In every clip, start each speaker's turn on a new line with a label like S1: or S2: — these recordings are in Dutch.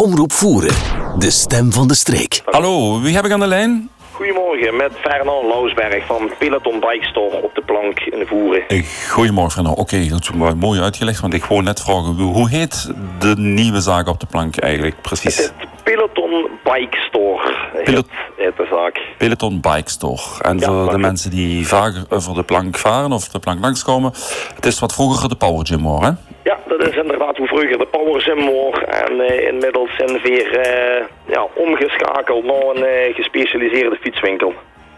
S1: Omroep Voeren, de stem van de streek.
S2: Hallo, wie heb ik aan de lijn?
S3: Goedemorgen, met Fernand Loosberg van Peloton Bike Store op de plank in Voeren.
S2: Eh, Goedemorgen. Nou, oké, dat is wel mooi uitgelegd, want ik wou net vragen, hoe heet de nieuwe zaak op de plank eigenlijk precies?
S3: Het Peloton Bike Store heet-
S2: Pelot-
S3: heet de zaak.
S2: Peloton Bike Store. En
S3: Ja,
S2: voor de
S3: maar-
S2: mensen die vaak over de plank varen of de plank langskomen, het is wat vroeger de Power Gym hoor, hè?
S3: Ja, dat is inderdaad hoe vroeger de Power Gym was. En eh, inmiddels zijn we weer eh, ja, omgeschakeld naar een eh, gespecialiseerde fietswinkel.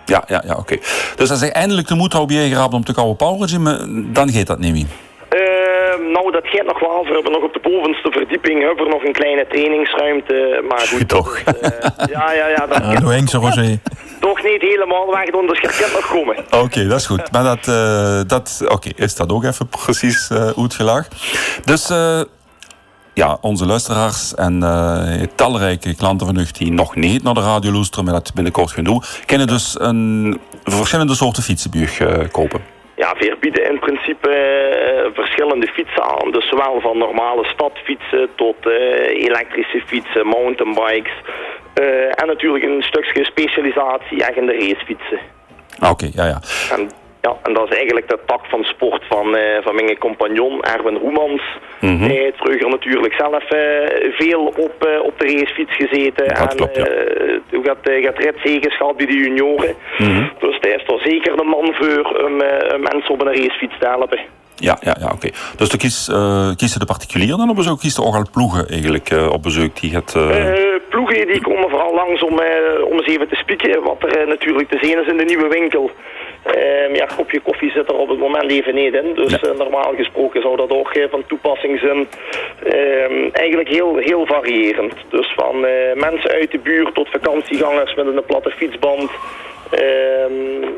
S2: Ja, ja, ja, oké. Dus als ik eindelijk de moed heb bijgehaald om te koude Power Gym, eh, dan gaat dat niet meer.
S3: Eh, nou, dat gaat nog wel. We hebben nog op de bovenste verdieping hebben we nog een kleine trainingsruimte. Maar goed, dat
S2: Toch.
S3: is, eh, ja, ja, ja, dat
S4: Ja,
S3: gaat
S4: doe Henk zo, Roger.
S3: toch niet helemaal weg, doen, dus je kan nog komen.
S2: Oké, dat is goed. Maar dat, eh, dat oké, is dat ook even precies eh uitgelegd. Dus eh, ja, onze luisteraars en eh, talrijke klanten van u die nog niet naar de radio luisteren, maar dat binnenkort gaan doen, kunnen dus een, verschillende soorten fietsenbuur eh, kopen.
S3: Ja, we bieden in principe eh, verschillende fietsen aan. Dus zowel van normale stadfietsen tot eh, elektrische fietsen, mountainbikes. eh, en natuurlijk een stukje specialisatie echt in de racefietsen.
S2: Ah, Oké, ja, ja.
S3: En, ja, en dat is eigenlijk de tak van sport van, eh, van mijn compagnon Erwin Roemans.
S2: Mhm.
S3: Hij heeft vroeger natuurlijk zelf eh, veel op, eh, op de racefiets gezeten.
S2: Dat
S3: en
S2: klopt, ja.
S3: eh, toen gaat, eh, gaat ritzegers gehad bij de junioren.
S2: Mhm.
S3: Dus hij is er zeker de man voor om eh, mensen op een racefiets te helpen.
S2: Ja, ja, ja oké. Dus dan kies, eh, kiezen de particulieren dan op bezoek, kiezen ook al ploegen eigenlijk eh, op bezoek die het... eh,
S3: Eh, ploegen die komen vooral langs om, eh, om eens even te spieken. Wat er eh, natuurlijk te zien is in de nieuwe winkel. Ehm ja, kopje koffie zit er op het moment even niet in. Dus eh, normaal gesproken zou dat ook eh, van toepassing zijn. Ehm, eigenlijk heel, heel variërend. Dus van eh, mensen uit de buurt tot vakantiegangers met een platte fietsband. Ehm,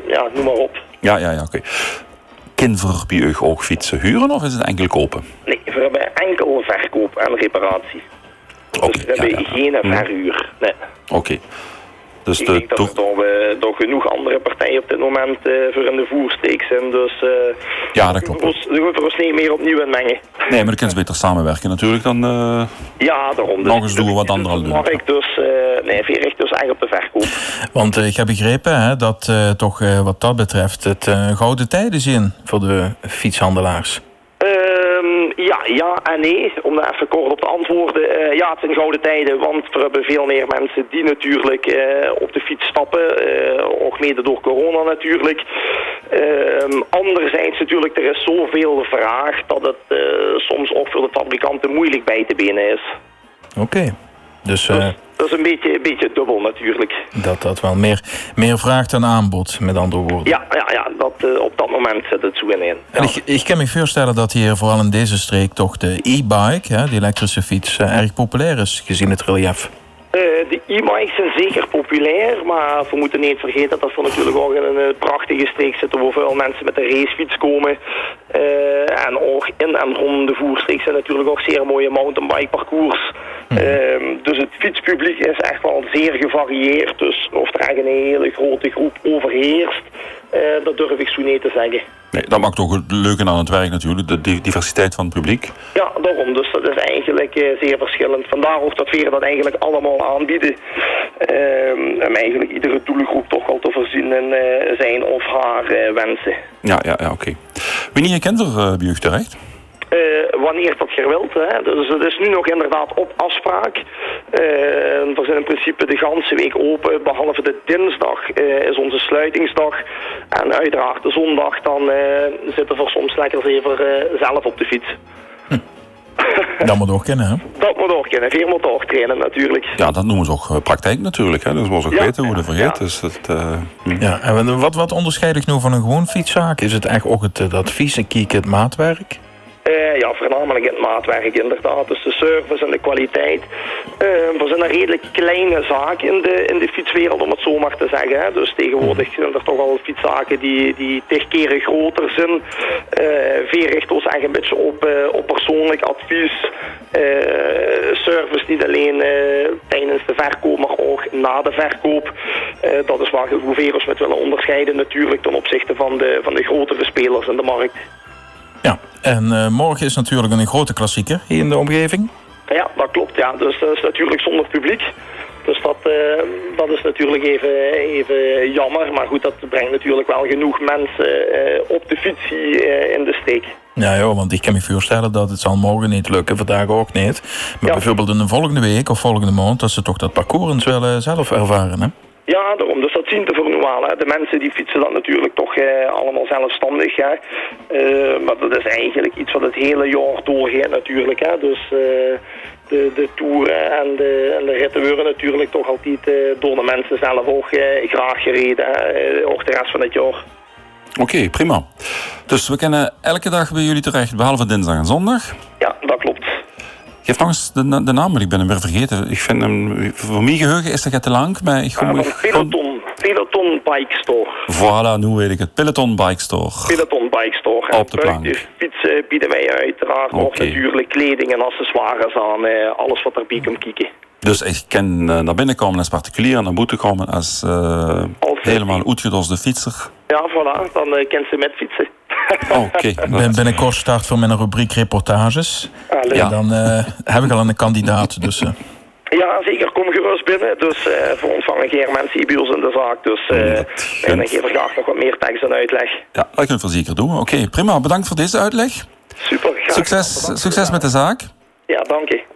S3: ja, noem maar op.
S2: Ja, ja, ja, oké. Kan voor bij u ook fietsen huren of is het enkel kopen?
S3: Nee, we hebben enkel verkoop en reparatie.
S2: Oké,
S3: Dus we
S2: ja,
S3: hebben
S2: ja, Mm. ja.
S3: geen verhuur. Nee.
S2: Oké. Dus
S3: Ik
S2: de
S3: denk dat
S2: toer-
S3: er toch, eh, toch genoeg andere partijen op dit moment eh, voor in de voersteek zijn. Dus eh
S2: Ja, dat
S3: we
S2: klopt.
S3: moeten we moeten ons niet meer opnieuw in mengen.
S2: Nee, maar dan kunnen ze beter samenwerken natuurlijk dan... eh,
S3: Ja, daarom.
S2: Nog eens doen we wat anderen al doen.
S3: Mag ik dus, eh, nee, veer ik dus echt op de verkoop.
S4: Want eh, ik heb begrepen hè, dat eh, toch eh, wat dat betreft het eh, gouden tijden zijn voor de fietshandelaars.
S3: Ehm, ja, ja en nee. Om daar even kort op te antwoorden. Eh, ja, het zijn gouden tijden, want we hebben veel meer mensen die natuurlijk eh, op de fiets stappen. eh, ook mede door corona natuurlijk. Ehm, anderzijds natuurlijk, er is zoveel vraag dat het eh, soms ook voor de fabrikanten moeilijk bij te benen is.
S4: Oké. Dus eh,
S3: Dat is een beetje, een beetje dubbel natuurlijk.
S4: dat dat wel meer, meer vraagt dan aanbod, met andere woorden.
S3: Ja, ja, ja dat, eh, op dat moment zit het zo in.
S4: En ik, ik kan me voorstellen dat hier vooral in deze streek toch de e-bike, hè, die elektrische fiets, eh, erg populair is gezien het relief.
S3: Eh, de e-bikes zijn zeker populair, maar we moeten niet vergeten dat we natuurlijk ook in een eh, prachtige streek zitten waar veel mensen met de racefiets komen. Eh, en ook in en rond de voerstreek zijn natuurlijk ook zeer mooie mountainbike parcours. dus het fietspubliek is echt wel zeer gevarieerd. Dus of er echt een hele grote groep overheerst, eh, dat durf ik zo niet te zeggen.
S2: nee, dat maakt ook het leuke aan het werk natuurlijk, de di- diversiteit van het publiek.
S3: Ja, daarom. Dus dat is eigenlijk eh, zeer verschillend. Vandaar ook dat we dat eigenlijk allemaal aanbieden. Ehm om eigenlijk iedere doelgroep toch wel te voorzien in eh, zijn of haar eh, wensen.
S2: Ja, ja, ja, oké. Wanneer je kent er eh, bij u terecht?
S3: Eh, wanneer dat je wilt. Hè. Dus het is nu nog inderdaad op afspraak. Eh, we zijn in principe de ganse week open. Behalve de dinsdag eh, is onze sluitingsdag. En uiteraard de zondag, dan eh, zitten we soms lekker eens even eh, zelf op de fiets.
S4: Dat moet ook kennen, hè?
S3: Dat moet ook kunnen. Veer moet ook trainen natuurlijk.
S2: Ja, dat noemen ze ook eh, praktijk natuurlijk. Hè. Dus we ook
S3: Ja,
S2: weten hoe
S3: ja,
S2: dat vergeet.
S3: ja.
S2: Dus dat, eh, hm.
S4: Ja, en wat, wat onderscheidt ik nu van een gewoon fietszaak? Is het echt ook het, eh, advies en kiek het maatwerk?
S3: Eh, ja, voornamelijk in het maatwerk inderdaad. Dus de service en de kwaliteit. Eh, we zijn een redelijk kleine zaak in de, in de fietswereld, om het zo maar te zeggen. Hè. Dus tegenwoordig zijn er toch wel fietszaken die, die tig keren groter zijn. Eh veel richt ons eigenlijk een beetje op, eh, op persoonlijk advies. Eh, service niet alleen eh, tijdens de verkoop, maar ook na de verkoop. Eh, dat is waar we ons met willen onderscheiden natuurlijk ten opzichte van de, van de grotere spelers in de markt.
S4: Ja, en eh, morgen is natuurlijk een grote klassieker hier in de omgeving.
S3: Ja, dat klopt. Ja. Dus dat is natuurlijk zonder publiek. Dus dat, eh, dat is natuurlijk even, even jammer. Maar goed, dat brengt natuurlijk wel genoeg mensen eh, op de fiets hier eh, in de steek.
S4: Ja, joh, want ik kan me voorstellen dat het zal morgen niet lukken, vandaag ook niet. Maar
S3: Ja.
S4: bijvoorbeeld in de volgende week of volgende maand, dat ze toch dat parcours eens wel eh, zelf ervaren, hè?
S3: Ja, daarom. Dus dat zien te voor normaal. Hè. De mensen die fietsen dat natuurlijk toch eh, allemaal zelfstandig. Hè. Eh, maar dat is eigenlijk iets wat het hele jaar doorgaat natuurlijk. Hè. Dus eh, de, de toeren en de, en de ritten worden natuurlijk toch altijd eh, door de mensen zelf ook eh, graag gereden. Hè. Eh, Ook de rest van het jaar.
S2: Oké, prima. Dus we kunnen elke dag bij jullie terecht, behalve dinsdag en zondag.
S3: Ja, dat klopt.
S2: Geef nog eens de, na- de naam, want ik ben hem weer vergeten. Ik vind hem, voor mijn geheugen is dat het te lang, maar ik kom...
S3: Ja, van
S2: ik kom-
S3: Eh, Peloton, Peloton Bike Store.
S2: Voilà, nu weet ik het. Peloton Bike Store.
S3: Peloton Bike Store. En
S2: Op de plank.
S3: buiten dus fietsen bieden wij uiteraard nog
S2: Oké.
S3: natuurlijk kleding en accessoires aan. eh, alles wat erbij komt kijken.
S2: Dus ik kan eh, naar binnen komen als particulier, naar boete komen als eh,
S3: Als-
S2: helemaal uitgedoste fietser.
S3: Ja, voilà. Dan eh, kent ze met fietsen.
S2: Oh, Oké,
S4: Ben, binnenkort start voor mijn rubriek reportages.
S3: Allee.
S4: En
S2: Ja.
S4: dan eh, heb ik al een kandidaat, dus... eh,
S3: Ja, zeker. Kom gerust binnen. Dus eh voor ontvangen geen mensen hier bij ons in de zaak. Dus eh
S2: Dat
S3: en dan
S2: kent.
S3: geef ik graag nog wat meer tekst en uitleg.
S2: ja, dat kunnen we zeker doen. Oké, prima. Bedankt voor deze uitleg.
S3: Super, graag.
S2: Succes, succes met de zaak.
S3: Ja, dank je.